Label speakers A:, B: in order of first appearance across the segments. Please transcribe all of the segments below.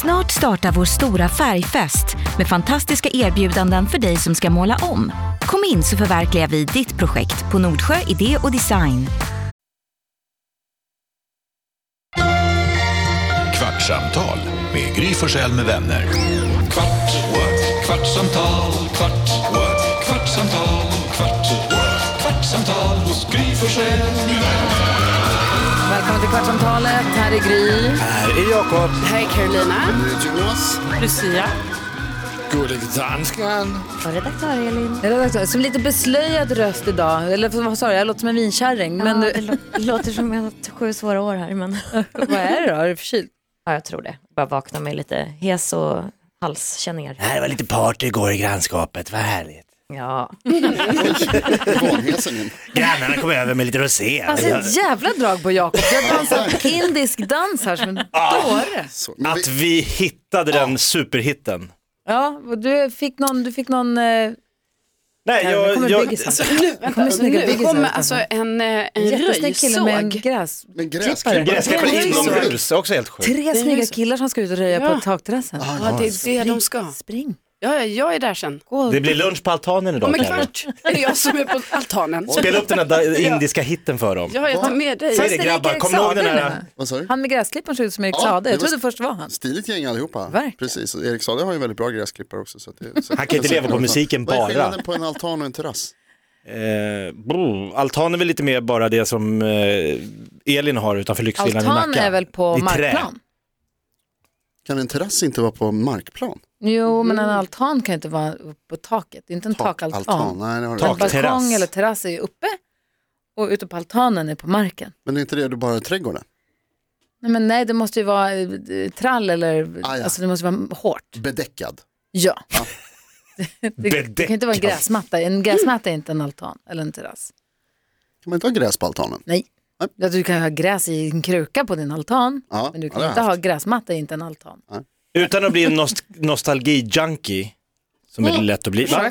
A: Snart startar vår stora färgfest med fantastiska erbjudanden för dig som ska måla om. Kom in så förverkligar vi ditt projekt på Nordsjö Idé och Design.
B: Kvartsamtal med Gry Forssell med vänner. Kvart, what? kvartsamtal, kvart, what? kvartsamtal, kvart, what? kvartsamtal hos Gry Forssell med vänner.
C: Välkommen till Kvartsamtalet. Här är Gry.
D: Här är Jakob.
C: Här är Carolina.
D: Jonas.
C: Lucia.
D: Gullig dansken.
E: Och redaktör Elin.
C: Som lite beslöjad röst idag. Eller vad sa du? Jag låter som en vinkärring. Men
E: Men
C: du,
E: det lå- låter som jag har haft sju svåra år här. Men...
C: vad är det då? Är du förkyld?
E: ja, jag tror det. Bara vakna med lite hes och halskänningar.
F: Nej, det var lite party igår i grannskapet, vad härligt.
E: Ja.
F: Grannarna kom över med lite rosé.
C: Alltså ett jävla drag på Jakob. Jag dansar indisk dans här som en dåre.
F: Att vi hittade den superhitten.
C: Ja, och du fick någon, du fick någon, eh,
F: Nej,
C: Carolina, nu kommer
F: jag, jag,
C: byggisen. Nu kommer snygga
G: Nu
C: byggisen.
G: kommer
C: här
G: alltså
C: utanför.
G: en, eh, en
C: Jättesnygg kille med en
G: röjsåg.
C: gräs.
H: Men
C: Klippare.
H: gräsklippare.
F: gräsklippare
G: Det är ju så.
F: inomhus är också helt sjukt.
C: Tre snygga killar som Ah. ska ut och röja
G: Ja.
C: på takterrassen.
G: Ja, det är det de ska.
C: Spring.
G: Ja, ja, jag är där sen.
C: Gå och
F: Det blir lunch på altanen idag
G: Om en
F: Kalle.
G: kvart är det jag som är på altanen.
F: Spela upp den här da- indiska hitten för dem.
G: Ja, jag tar med
F: Säg
G: dig.
F: det
C: Fast
F: grabbar,
C: Erik
F: kommer ni ihåg den Ah,
C: Saade
F: här?
C: nu?
H: Vad sa du?
C: Han med gräsklipparen såg ut som Erik
H: Ja,
C: Saade.
H: det
C: Jag
H: var-
C: trodde först det var han.
H: Stiligt gäng allihopa.
C: Verkligen.
H: Precis, och Erik Saade har ju väldigt bra gräsklippare också. Så att det, så
F: Han kan ju inte leva på musiken
H: Vad är
F: bara.
H: skillnaden på en altan och en terrass?
F: Eh, bro, altan är väl lite mer bara det som eh, Elin har utanför lyxvillan i Nacka.
C: Altan är väl på
F: I trä.
C: markplan?
H: Kan en terrass inte vara på markplan?
C: Jo, men en
F: Mm.
C: altan kan ju inte vara upp på taket. Det är inte en takaltan.
H: Altan, nej det har du
F: Tak.
C: En
H: rätt.
C: balkong
F: Terrass.
C: eller terrass är ju uppe och ute på altanen är på marken.
H: Men det är inte det du bara har trädgården?
C: Nej, men nej, det måste ju vara eh, trall eller
H: Ah, ja.
C: alltså det måste vara hårt.
H: Bedäckad.
C: Ja. det, det kan inte vara en
F: Bedäckat.
C: gräsmatta. En gräsmatta är inte en altan eller en terrass.
H: Kan man inte ha gräs på
F: Eh,
H: altanen?
C: Nej.
H: Nej.
C: Ja, du kan ju ha gräs i en kruka på din altan,
H: Ja,
C: men du
H: ja,
C: kan
H: det har
C: inte
H: jag
C: ha
H: haft.
C: gräsmatta i inte en altan.
F: Utan att bli en nost- nostalgi-junkie, som är lätt att bli. Va?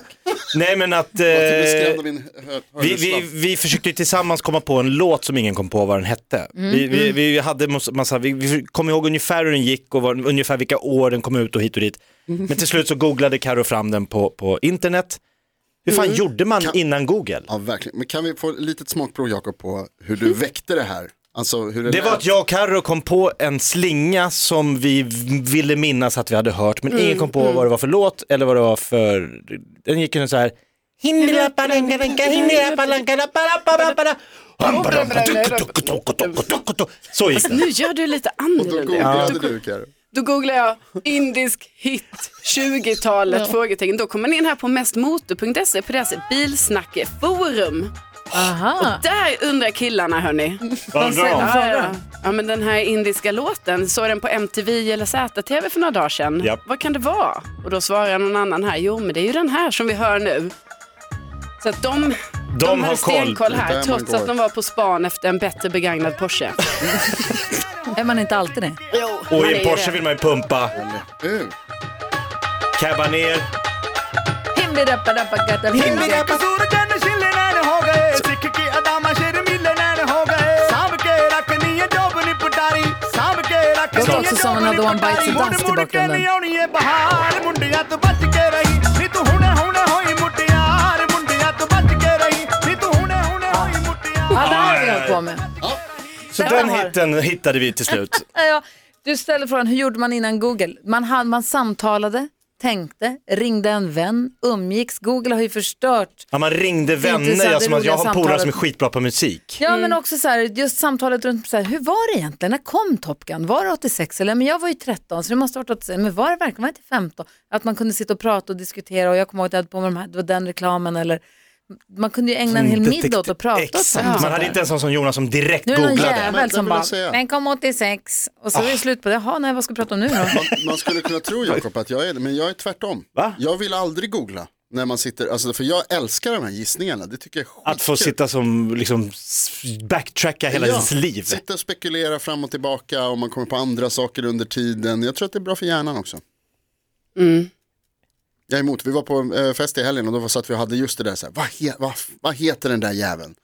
F: Nej men att...
H: Jag blir
F: Eh,
H: skrämd av min hö-
F: Vi, vi,
H: hörlurssladd.
F: vi försökte ju tillsammans komma på en låt som ingen kom på vad den hette. Vi, vi, vi, hade mos- massa, vi, vi kom ihåg ungefär hur den gick och var, ungefär vilka år den kom ut och hit och dit. Men till slut så googlade Karo fram den på, på internet. Hur fan gjorde man innan Google?
H: Ja, verkligen. Men kan vi få ett litet smakprov Jakob på hur du väckte det här? Alltså hur det,
F: Det
H: lät.
F: var att jag och Karo kom på en slinga som vi v- ville minnas att vi hade hört men ingen kom på vad det var för låt eller vad det var för... Den gick ju så här... Så gick den.
G: Nu gör du lite
H: Och då
G: annorlunda.
H: googlade du Karo.
G: Då googlar jag indisk hit 20-talet frågetecken. Då kommer ni in här på mestmotor.se på deras bilsnackeforum.
C: Aha.
G: Där undrar killarna hörni.
F: Vad bra.
G: Ja, ja. ja men den här indiska låten, såg den på MTV eller ZTV för några dagar sedan.
F: Japp.
G: Vad kan det vara? Och då svarar någon annan här, jo men det är ju den här som vi hör nu. Så att de, de,
F: De har
G: hade stenkoll
F: koll.
H: Det är
G: här,
H: där
G: trots
H: man går.
G: att de var på span efter en bättre begagnad Porsche.
C: Är man inte alltid det?
F: Och
G: Man är
F: i
G: ju
F: Porsche
G: det.
F: vill man ju pumpa,
H: Uh,
F: cabba ner.
C: Himbidappadappadappa, himbidappa. Det låter också som en Adon Bites och Dust i bakgrunden. Ja, det här har vi hållit på med.
F: Så
C: Där
F: den
C: har-
F: hitten hittade vi till slut.
C: Ja, ja. Du ställer frågan, hur gjorde man innan Google? Man, hann- man samtalade, tänkte, ringde en vän, umgicks. Google har ju förstört.
F: Ja, man ringde vänner, alltså,
C: Intressant,
F: jag, som att jag har en polare
C: samtalet.
F: som är skitbra på musik.
C: Ja,
H: Mm.
C: men också så här, just samtalet runt, så här, hur var det egentligen? När kom Top Gun? Var det 86? Eller, men jag var ju 13, så det måste ha varit 86. Men var det verkligen, var det inte 15? Att man kunde sitta och prata och diskutera och jag kommer ihåg att jag hade på mig de här, det var den reklamen eller man kunde ju ägna en hel middag åt att prata åt sånt
F: Mm. Exakt, man
C: där.
F: hade inte en sån som Jonas som direkt
C: Nu är det någon
F: googlade.
H: Men
C: jävel
H: det
C: som
H: vill jag
C: bara,
H: säga.
C: den kom 86 och så är det slut på det. Jaha, nej, vad ska vi prata om nu då?
H: man, man skulle kunna tro Jakob att jag är det, men jag är tvärtom.
F: Va?
H: Jag vill aldrig googla när man sitter, alltså, för jag älskar de här gissningarna. Det tycker jag är
F: Att få
H: skitkul.
F: sitta som, liksom s- backtracka hela
H: Ja,
F: ens liv.
H: Sitta och spekulera fram och tillbaka och man kommer på andra saker under tiden. Jag tror att det är bra för hjärnan också.
G: Mm.
H: Jag är emot, vi var på eh, fest i helgen och då var så att vi hade just det där, så här, vad, he- vad, f- vad heter den där jäveln?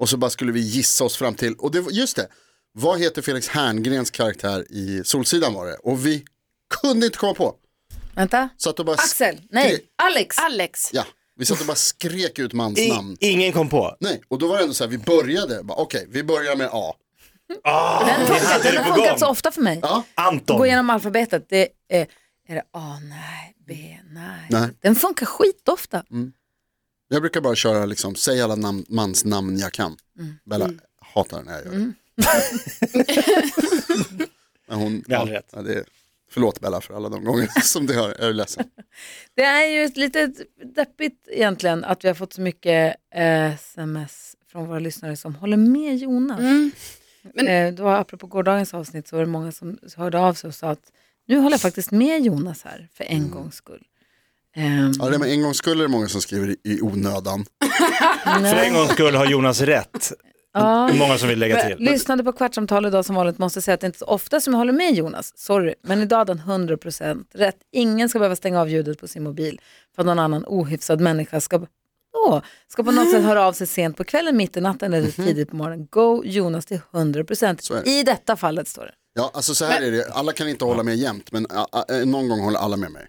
H: Och så bara skulle vi gissa oss fram till, och det, var- just det, vad heter Felix Herngrens karaktär i Solsidan var det? Och vi kunde inte komma på.
C: Vänta.
H: Satt och bara
C: Axel,
H: skrek-
C: nej, Alex.
G: Alex.
H: Ja, vi satt och bara skrek ut mans
F: I,
H: namn.
F: ingen kom på.
H: Nej, och då var det ändå så här, vi började, bara, okej, vi börjar med A.
C: Den funkar, den
F: det på
C: har funkat
F: gång.
C: så ofta för mig.
H: Ja,
F: Anton.
C: Gå igenom alfabetet, det är, är det A, nej, B, nej.
H: Nej.
C: Den funkar skitofta.
H: jag brukar bara köra liksom, säg alla nam- mans namn jag kan. Bella hatar när jag gör det. Men hon,
F: Med all rätt.
H: Ja, det är, förlåt Bella för alla de gånger som du hör, jag är ledsen.
C: Det är ju ett lite deppigt egentligen att vi har fått så mycket eh, sms från våra lyssnare som håller med Jonas.
G: Men-
C: eh, då, apropå gårdagens avsnitt så var det många som hörde av sig och sa att nu håller jag faktiskt med Jonas här för en gångs skull. Ehm,
H: Ja, det är med en gång skulle det är många som skriver i, i onödan.
F: För en gångs skull har Jonas rätt.
C: ja.
F: Hur många som vill lägga till.
C: Eh, Lyssnade på Kvartsamtal idag som vanligt, måste säga att det inte är så ofta som jag håller med Jonas, sorry, men idag hade han 100% rätt. Ingen ska behöva stänga av ljudet på sin mobil för att någon annan ohyfsad människa ska, då, ska på något sätt höra av sig sent på kvällen, mitt i natten eller tidigt på morgonen. Go Jonas till 100%.
H: Mhm. Så är det.
C: I detta fallet står det.
H: Ja, alltså så här är det, alla kan inte hålla med jämt, men a, a, någon gång håller alla med mig.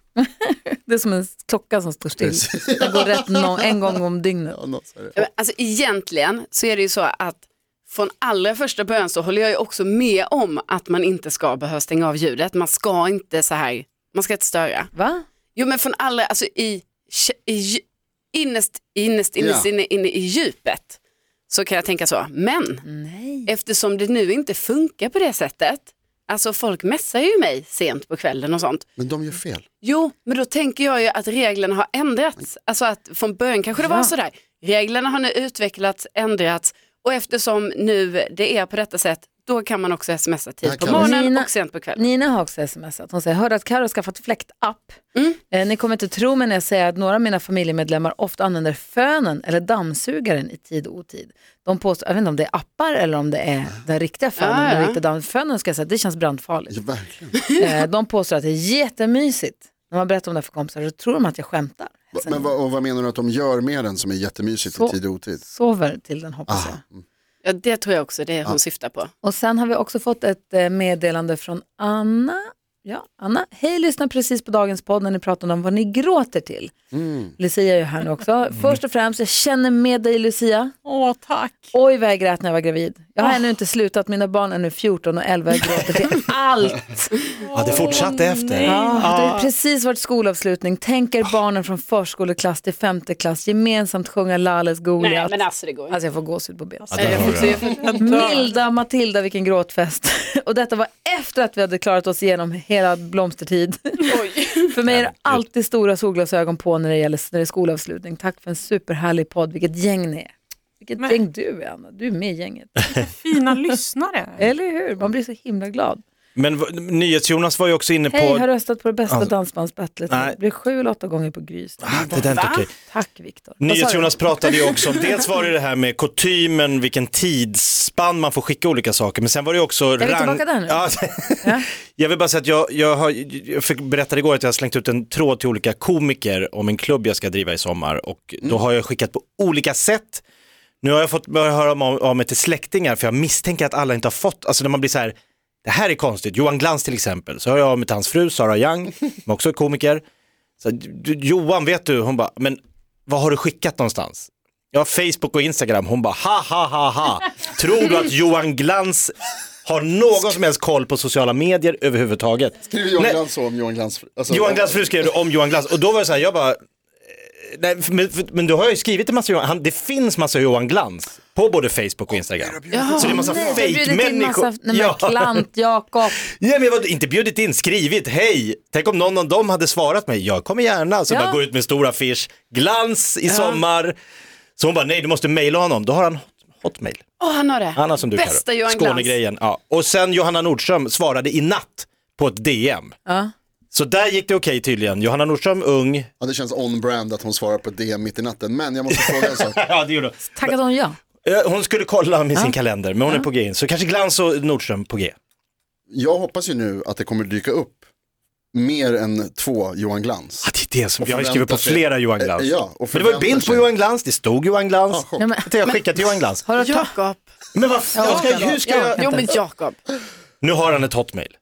C: Det är som en klocka som står still. Den går rätt no en gång om dygnet.
H: Ja, något så är det.
G: Ja, men Alltså egentligen så är det ju så att från allra första början så håller jag ju också med om att man inte ska behöva stänga av ljudet. Man ska inte så här, man ska inte störa.
C: Va?
G: Jo men från allra, alltså i, i dju- innerst, innerst, innerst
H: Ja.
G: inne, inne i djupet så kan jag tänka så. Men
C: Nej.
G: eftersom det nu inte funkar på det sättet, alltså folk messar ju mig sent på kvällen och sånt.
H: Men de gör fel.
G: Jo, men då tänker jag ju att reglerna har ändrats. Alltså att från början kanske det var
C: Ja.
G: sådär. Reglerna har nu utvecklats, ändrats och eftersom nu det är på detta sätt, då kan man också smsa
H: Där
G: tid på
H: kan man-
G: morgonen
C: Nina-
G: och sent på kvällen.
C: Nina har också smsat. Hon säger, hörde att Karo har skaffat fläktapp.
H: Mm.
C: Eh, ni kommer inte tro mig när jag säger att några av mina familjemedlemmar ofta använder fönen eller dammsugaren i tid och otid. De påstår, jag vet inte om det är appar eller om det är den riktiga fönen.
G: Ja, ja.
C: Den riktiga damm- fönen ska jag säga, det känns brandfarligt.
H: Ja, verkligen.
C: Eh, de påstår att det är jättemysigt. När man berättar om det här för kompisar så tror de att jag skämtar.
H: Va- Men vad, och vad menar du att de gör med den som är jättemysigt
C: Så-
H: i tid och otid?
C: Sover till den hoppas
F: Alltså.
H: Ah.
G: Ah.
C: jag.
G: Ja, det tror jag också det är hon syftar på.
C: Och sen har vi också fått ett eh, meddelande från Anna. Ja, Anna. Hej, lyssna precis på dagens podd när ni pratade om vad ni gråter till.
F: Mm.
C: Lucia är ju här nu också. Först och främst, jag känner med dig Lucia.
I: Åh, tack.
C: Oj vad jag grät när jag var gravid. Jag har ännu inte slutat, mina barn är nu 14 och 11 jag gråter till allt.
F: Ja, det fortsatte efter.
C: Ah, det har precis varit skolavslutning, tänker barnen från förskoleklass till femte klass gemensamt sjunga Lalles Goliat.
G: alltså det går
C: Alltså jag får gåshud på ben.
F: Där har du det.
C: Milda Matilda, vilken gråtfest. Och detta var efter att vi hade klarat oss igenom hela blomstertid. för mig är det alltid stora solglasögon på när det gäller när det är skolavslutning. Tack för en superhärlig podd, vilket gäng ni är. Vilket
I: Men-
C: gäng du är Anna, du är med i gänget.
I: Fina lyssnare.
C: Eller hur? Man blir så himla glad.
F: Men v- NyhetsJonas var ju också inne på...
C: Hej, har röstat på det bästa
F: Alltså-
C: dansbandsbattlet.
F: Nej.
C: Det blir sju eller åtta gånger på Grys.
F: Ah, det där är inte okej.
C: Tack Viktor.
F: NyhetsJonas pratade ju också om, dels var det det här med kutymen, vilken tidsspann man får skicka olika saker, men sen var det ju också...
C: vi tillbaka där nu?
F: Ja, jag vill bara säga att jag, jag, har, jag fick berättade igår att jag har slängt ut en tråd till olika komiker om en klubb jag ska driva i sommar och då
C: Mm.
F: har jag skickat på olika sätt. Nu har jag fått börja höra om- av mig till släktingar för jag misstänker att alla inte har fått, alltså när man blir så här, det här är konstigt, Johan Glans till exempel, så hör jag av mig till hans fru Sara Young, som också är komiker. Så, här, "Du- Johan vet du, hon bara, men vad har du skickat någonstans? Ja, Facebook och Instagram. Hon bara, ha ha ha ha. Tror du att Johan Glans har någon som helst koll på sociala medier överhuvudtaget?
H: Skriver Johan
F: Nej.
H: Glans så om Johan Glans? Alltså,
F: Johan Glans fru skrev det om Johan Glans och då var det så här, jag bara, eh, nej, för- men, för- men då har jag ju skrivit en massa Johan, han, det finns massa Johan Glans på både Facebook och Instagram. Så det är massa
C: Nej, jag bjuder till
F: fejkmänniskor.
C: massa, nej men klant, Jakob.
F: Ja, men jag var inte bjudit in, skrivit, hej, tänk om någon av dem hade svarat mig, jag kommer gärna, så
C: Ja.
F: bara gå ut med stor affisch, glans i sommar. Så hon bara, nej du måste mejla honom, då har han hot- hotmail.
G: Åh, han har det.
F: Han har som du
G: Bästa
F: Karo.
G: Johan Glans.
F: Skånegrejen. Ja. Och sen Johanna Nordström svarade i natt på ett DM.
C: Ja.
F: Så där gick det okej tydligen, Johanna Nordström ung.
H: Ja, det känns on-brand att hon svarar på DM mitt i natten, men jag måste fråga en sak.
F: Ja, det gjorde hon.
C: Tackade hon ja?
F: Eh, Hon skulle kolla med sin kalender, men hon är på G in. Så kanske Glans och Nordström på G.
H: Jag hoppas ju nu att det kommer dyka upp mer än två Johan Glans.
F: Ja, det är det som, jag har ju
H: förvänta
F: skrivit på
H: sig-
F: flera Johan Glans.
H: Eh, ja, och
F: men det var ju
H: förvänta
F: bild på
H: sig.
F: Johan Glans, det stod Johan Glans.
H: Ja, chock.
C: Nej, men,
F: att jag skickat till Johan Glans.
C: har du tagit?
G: Jakob.
F: Men vad fan, jag ska, hur ska jag...
G: Jo men Jakob.
F: Nu har han ett hotmail.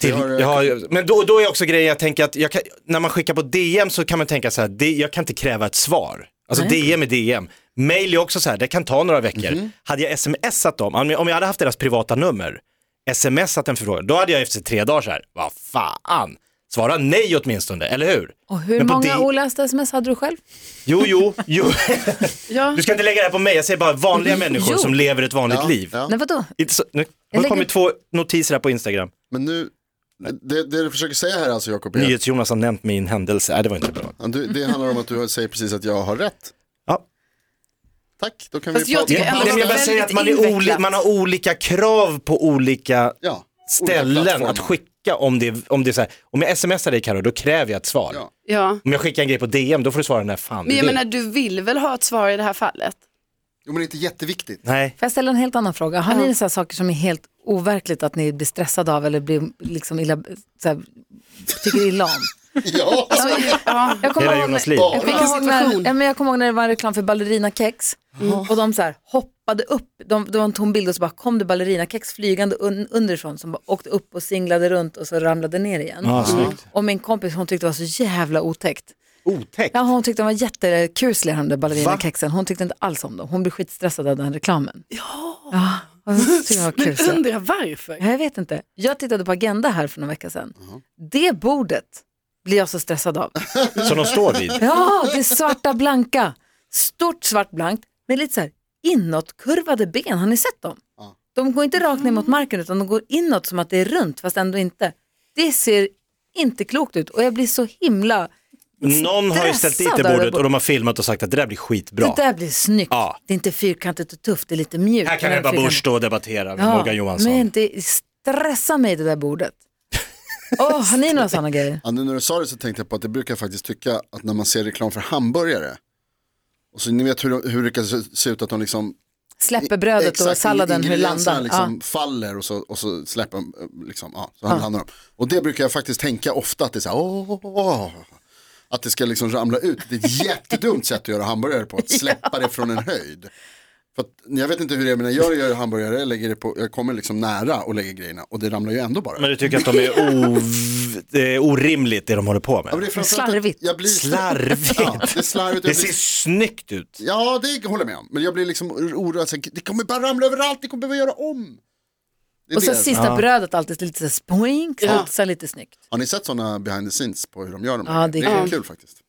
F: Till,
H: har, eh,
F: jag har, men då, då är också grejen, jag tänker att jag kan, när man skickar på DM så kan man tänka så här, det, jag kan inte kräva ett svar. Alltså DM är DM. Mail är också så här, det kan ta några veckor.
H: Mhm.
F: Hade jag smsat dem, om jag, om jag hade haft deras privata nummer, smsat en förfrågan, då hade jag efter tre dagar så här, vad fan, svara nej åtminstone, eller hur?
C: Och hur
F: Men på
C: många
F: det-
C: olästa sms hade du själv?
F: Jo, jo, jo.
G: Ja.
F: Du ska inte lägga det här på mig, jag säger bara vanliga människor
C: Jo.
F: som lever ett vanligt
H: Ja,
F: liv.
H: ja.
C: Nej vadå?
F: Inte så, nu har
C: lägger-
F: det kommit två notiser här på Instagram.
H: Men nu, det, det du försöker säga här alltså Jakob, är att-
F: NyhetsJonas har nämnt min händelse, nej det var inte bra.
H: ja, du- det handlar om att du säger precis att jag har rätt.
F: Ja.
H: Tack, då kan
G: Fast
H: vi
G: jag
H: prata
G: tycker
H: om
G: ändå
F: Nej, men jag bara
G: väldigt
F: säger att man, är oli-
G: invecklat.
F: man har olika krav på olika
H: ja, olika
F: ställen
H: plattformar.
F: att skicka om det, om det är så här, om jag smsar dig Karo, då kräver jag ett svar.
H: Ja.
G: Ja.
F: Om jag skickar en grej på DM, då får du svara när fan
G: Men
F: du
G: jag
F: vill.
G: menar, du vill väl ha ett svar i det här fallet?
H: Jo men det är inte jätteviktigt.
F: Nej,
C: Får jag ställa en helt annan fråga? Har
G: Ja.
C: ni så här saker som är helt overkligt att ni blir stressade av eller blir liksom illa, så här, tycker illa om?
H: Ja,
G: Alltså, ja.
C: Jag kommer ihåg
F: hela
C: när-
F: Jonas liv.
H: Ja.
C: Jag kommer,
G: Vilken
C: ihåg när,
G: situation? Mm.
C: ja, men jag kommer ihåg när det var en reklam för ballerinakex och de så här hoppade upp, de, det var en tom bild och så bara kom det ballerinakex flygande un, underifrån som bara åkte upp och singlade runt och så ramlade ner igen.
F: Ja, snyggt.
C: Och min kompis hon tyckte det var så jävla otäckt.
F: Otäckt.
C: Ja, hon tyckte de var jättekusliga de där ballerinakexen. Hon tyckte inte alls om dem. Hon blev skitstressad av den reklamen. Ja. ja hon tyckte de var
G: Men
C: kusliga.
G: undrar varför?
C: Ja, Jag vet inte. Jag tittade på Agenda här för några veckor sedan. Det bordet blir jag så stressad av.
F: Som de står vid.
C: Ja, det svarta blanka. Stort svart blankt med lite så här inåtkurvade ben. Har ni sett dem?
H: Ja.
C: De går inte rakt ner mot marken utan de går inåt som att det är runt fast ändå inte. Det ser inte klokt ut och jag blir så himla...
F: Någon har ju ställt dit det
C: Stressad
F: bordet och de har filmat och sagt att det där blir skitbra.
C: Det där blir snyggt.
F: Ja.
C: Det är inte fyrkantigt och tufft, det är lite mjukt.
F: Här kan
C: Men
F: Ebba
C: fyrkantigt-
F: Busch då debattera med
C: Ja,
F: Morgan Johansson.
C: Men inte stressa mig det där bordet. Åh, har ni några sådana grejer?
H: Ja, nu när du sa det så tänkte jag på att det brukar jag faktiskt tycka att när man ser reklam för hamburgare, och så ni vet hur, hur det kan se- se ut att de liksom
C: Släpper brödet och
H: Exakt,
C: salladen, hur
H: ingredienserna
C: landar?
H: liksom faller och så, och så släpper de, liksom, ja, så landar de. Och det brukar jag faktiskt tänka ofta att det är så här, åh, åh, åh, att det ska liksom ramla ut. Det är ett jättedumt sätt att göra hamburgare på, att släppa det från en höjd. För att, jag vet inte hur det är, men när jag gör hamburgare, jag, lägger det på, jag kommer liksom nära och lägger grejerna och det ramlar ju ändå bara.
F: Men du tycker att de är ov- det är orimligt det de håller på
H: Ja, men
F: med?
H: det är framförallt att
C: Slarvigt.
H: Jag blir,
F: Slarvigt.
H: Ja, det är slarvigt.
F: Det
H: Jag
F: ser
H: blir,
F: snyggt ut.
H: ja, det håller jag med om. Men jag blir liksom oroad, så här, det kommer bara ramla överallt, det kommer behöva göra om. Det är
C: Och så
H: det.
C: sista brödet alltid lite så här spoink, så
G: Ja.
C: så här lite snyggt.
H: Har ni sett sådana behind the scenes på hur de gör dem?
C: Ja, det är
H: är
C: kul.
H: kul faktiskt.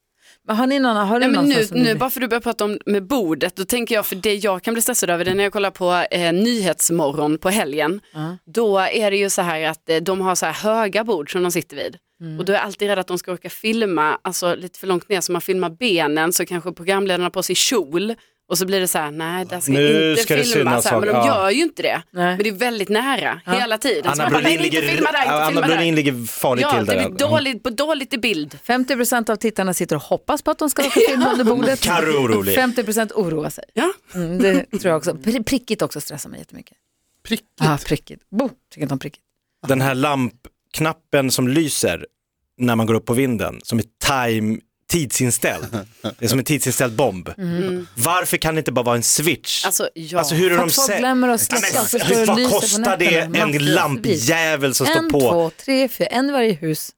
C: Men har ni någon, har du
G: Nej, men
C: någon
G: nu,
C: sån som
G: nu
C: ni-
G: bara för du börjar prata om med bordet, då tänker jag, för det jag kan bli stressad över det är när jag kollar på eh, Nyhetsmorgon på helgen. Då är det ju så här att eh, de har så här höga bord som de sitter vid. Och då är jag alltid rädd att de ska orka filma, alltså lite för långt ner så man filmar benen så kanske programledarna har på sig kjol. Och så blir det så här, nej där ska
F: Nu
G: inte
F: ska det
G: filma,
F: synas
G: så här, men de
F: saker, ja.
G: gör ju inte det.
C: Nej.
G: Men det är väldigt nära, hela tiden. Så
F: Anna
G: man bara,
F: Brolin
G: nej, inte
F: ligger,
G: filma där, inte
F: Anna
G: filma
F: Brolin
G: där.
F: ligger farligt
G: Ja,
F: till
G: det
F: där. Mm.
G: blir dåligt, på dåligt i bild.
C: 50% av tittarna sitter och hoppas på att de ska åka filma under bordet.
F: Karo är orolig.
C: 50% oroar sig.
G: Ja.
C: Mm, det tror jag också. Pri- Prickigt också stressar mig jättemycket.
H: Prickigt.
C: Ja, prickigt. Bo, tycker inte om prickigt.
F: Den här lampknappen som lyser när man går upp på vinden, som är time, tidsinställd. Det är som en tidsinställd bomb. Varför kan det inte bara vara en switch?
G: Mm. Alltså, ja.
F: Alltså, hur är
C: För
F: de
C: att folk
F: sä-
C: glömmer att
F: Ja, men
C: släcka, så
F: hur-
C: står det och
F: Vad
C: lyser på
F: kostar det
C: nätterna?
F: en
C: Massvis.
F: lampjävel som
C: En,
F: står på?
C: två, tre, fyra, en i varje hus.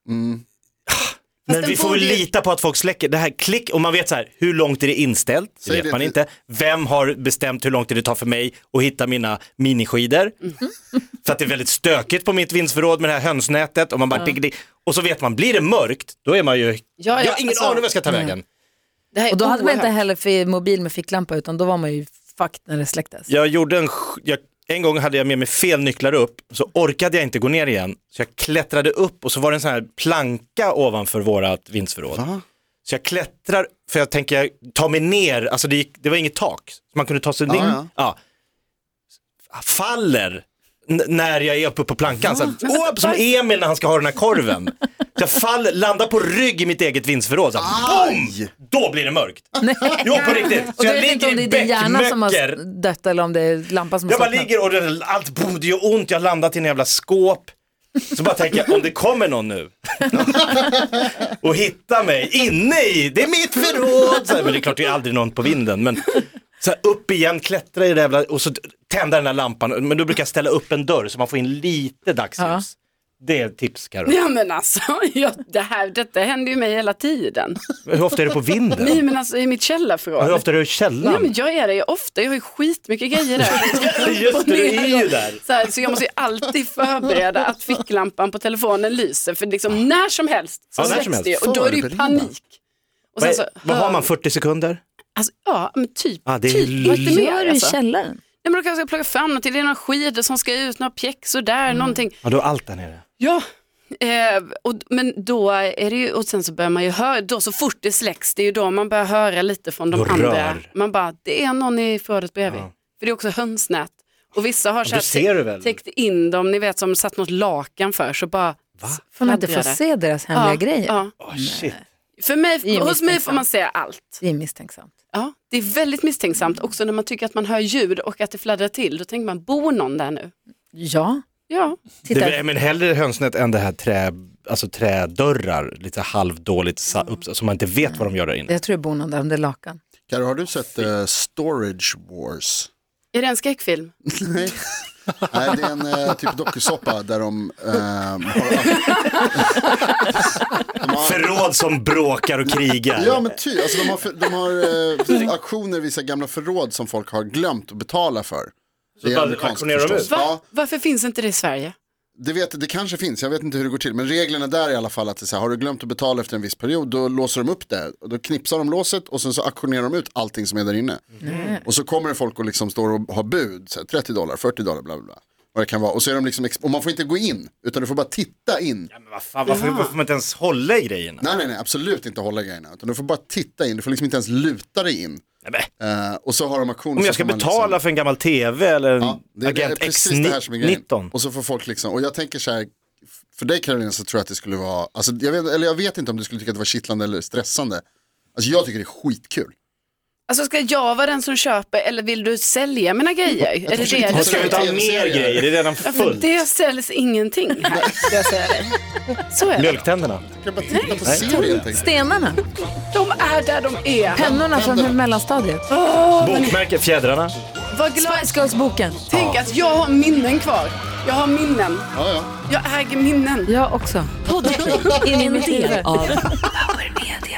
F: Men
G: den
F: vi får väl
G: borde ju-
F: lita på att folk släcker. Det här klick, och man vet så här, hur långt är det inställt? Det
H: Säg
F: vet
H: det
F: man
H: till-
F: inte. Vem har bestämt hur långt det tar för mig att hitta mina miniskidor?
G: Mm-hmm.
F: För att det är väldigt stökigt på mitt vindsförråd med det här hönsnätet. Och, man bara, dick, dick. och så vet man, blir det mörkt, då är man ju,
G: ja,
F: jag har ingen
G: alltså-
F: aning vart jag ska ta vägen.
G: Det här är
C: Och då hade man inte
G: oerhört.
C: heller för mobil med ficklampa utan då var man ju fucked när det släcktes.
F: Jag gjorde en, sj- jag, en gång hade jag med mig fel nycklar upp, så orkade jag inte gå ner igen. Så jag klättrade upp och så var det en sån här planka ovanför vårat vindsförråd. Så jag klättrar, för jag tänker jag tar mig ner, alltså det, gick, det var inget tak. Så man kunde ta sig ner.
H: ja.
F: Ja. Faller n- när jag är uppe på plankan. Så här, upp, som Emil när han ska ha den här korven. Så jag faller, landar på rygg i mitt eget vindsförråd. Så här, boom! Då blir det mörkt. Jo, på riktigt.
C: Och
F: Så
C: jag
F: jag
C: vet inte
F: ligger
C: om det är
F: i
C: din hjärna som
F: bäckmöcker.
C: har dött eller om det är lampan som
F: Jag
C: har
F: bara
C: slocknat.
F: ligger och det, allt boom, det gör ont, jag har landat i en jävla skåp. Så bara tänker jag, om det kommer någon nu och hittar mig inne i, det är mitt förråd. Så här, men det är klart, det är aldrig någon på vinden. Men så här, upp igen, klättra i det jävla, och så tända den här lampan. Men då brukar jag ställa upp en dörr så man får in lite dagsljus. Det är ett tips Karo.
G: Ja men alltså, jag, det här, detta händer ju mig hela tiden.
F: Hur ofta är det på
G: Nej
F: vinden?
G: men alltså i mitt
F: Hur
G: källarförråd.
F: ofta är det i
G: Nej men
F: källaren?
G: jag är det ju ofta, jag har ju skitmycket grejer där.
F: Just det, du är ju där.
G: Så, här, så jag måste ju alltid förbereda att ficklampan på telefonen lyser för liksom när som helst så
F: Ja, när
G: släcks
F: som helst.
G: det ju, och då är det ju
H: Förbereda.
G: panik. Och sen
F: Vad,
G: så,
F: är, vad har man, 40 sekunder?
G: Alltså, ja men typ,
F: Ah, det är
G: typ
F: l-
G: och inte
E: Gör
G: mer
E: du i
G: alltså. Nej,
E: källaren?
G: men då kanske jag plocka fram något, det är några skidor som ska ut, några pjäxor där,
F: Mm.
G: någonting.
F: Ja, du har allt där nere.
G: Ja, eh, och, men då är det ju, och sen så börjar man ju höra, då så fort det släcks, det är ju då man börjar höra lite från de
F: Då
G: andra.
F: rör.
G: Man bara, det är någon i förrådet bredvid. För det är också hönsnät. Och vissa har så
F: då
G: här
F: ser du
G: tä-
F: väl?
G: täckt in dem, ni vet som satt något lakan för, så bara
C: Får man inte få
G: fladdrar det.
C: se deras hemliga grejer?
G: Ja.
F: Oh, shit.
G: För mig,
C: är
G: hos mig får
C: misstänksamt.
G: man se allt.
C: Det är misstänksamt.
G: Ja, det är väldigt misstänksamt också när man tycker att man hör ljud och att det fladdrar till. Då tänker man, bor någon där nu?
C: Ja,
G: Ja,
F: Det,
C: titta.
F: är- men hellre hönsnät än det här trä, alltså trädörrar, lite halvdåligt sa- upp, så man inte vet vad de gör där inne.
C: Jag tror det bor någon där under lakan.
H: Karo, har du sett eh, Storage Wars?
G: är det en skräckfilm?
H: Nej. Nej, det är en eh, typ dokusåpa där de... ehm, har, de har,
F: Förråd som bråkar och krigar.
H: ja, men ty, alltså, de har, för- de har eh, auktioner i vissa gamla förråd som folk har glömt att betala för. Så
F: bara auktionerar de ut?
G: Va?
H: Ja,
G: Varför finns inte det i Sverige?
H: det, vet, det kanske finns, jag vet inte hur det går till. Men reglerna där är i alla fall att det är så här, har du glömt att betala efter en viss period, då låser de upp det. Och då knipsar de låset och sen så auktionerar de ut allting som är där inne. Och så kommer det folk och liksom står och har bud, så här, 30 dollar, 40 dollar, bla bla bla. Vad det kan vara. Och, så är de liksom, ex- och man får inte gå in, utan du får bara titta in.
F: men vad fan, varför, varför får man inte ens hålla i grejerna?
H: Nej, nej, nej, absolut inte hålla grejerna. Utan du får bara titta in, du får liksom inte ens luta dig in.
F: Nej, men.
H: Eh, och så har de auktioner.
F: Om
H: så
F: jag ska
H: får man
F: betala
H: liksom-
F: för en gammal tv eller en
H: Ja, det, är- det
F: Mm.
H: är
F: Agent
H: precis det här som är grejen.
F: X19.
H: Och så får folk liksom, och jag tänker så här, för dig Karolina så tror jag att det skulle vara, alltså, jag, vet, eller jag vet inte om du skulle tycka att det var kittlande eller stressande. Alltså jag tycker det är skitkul.
G: Alltså ska jag vara den som köper eller vill du sälja mina grejer? Är det
H: försöker
G: det
H: ta
G: du
F: Jag ska
H: sig
G: säger?
F: inte ha mer
H: TV-serier.
F: grejer, det är redan
G: Ja, för
F: fullt.
G: det säljs ingenting här, ska jag säga dig. Så är det.
F: Mjölktänderna.
H: Jag bara titta på serien tänker jag.
C: Stenarna,
G: De är där de är.
C: pennorna från mellanstadiet.
F: Bokmärket, fjädrarna.
G: Vad glad
C: Spice Girls-boken.
G: Tänk att jag har minnen kvar. Jag har minnen.
H: Ja, ja.
G: Jag äger minnen.
C: Jag också.
A: Podplay är en del av Power Media.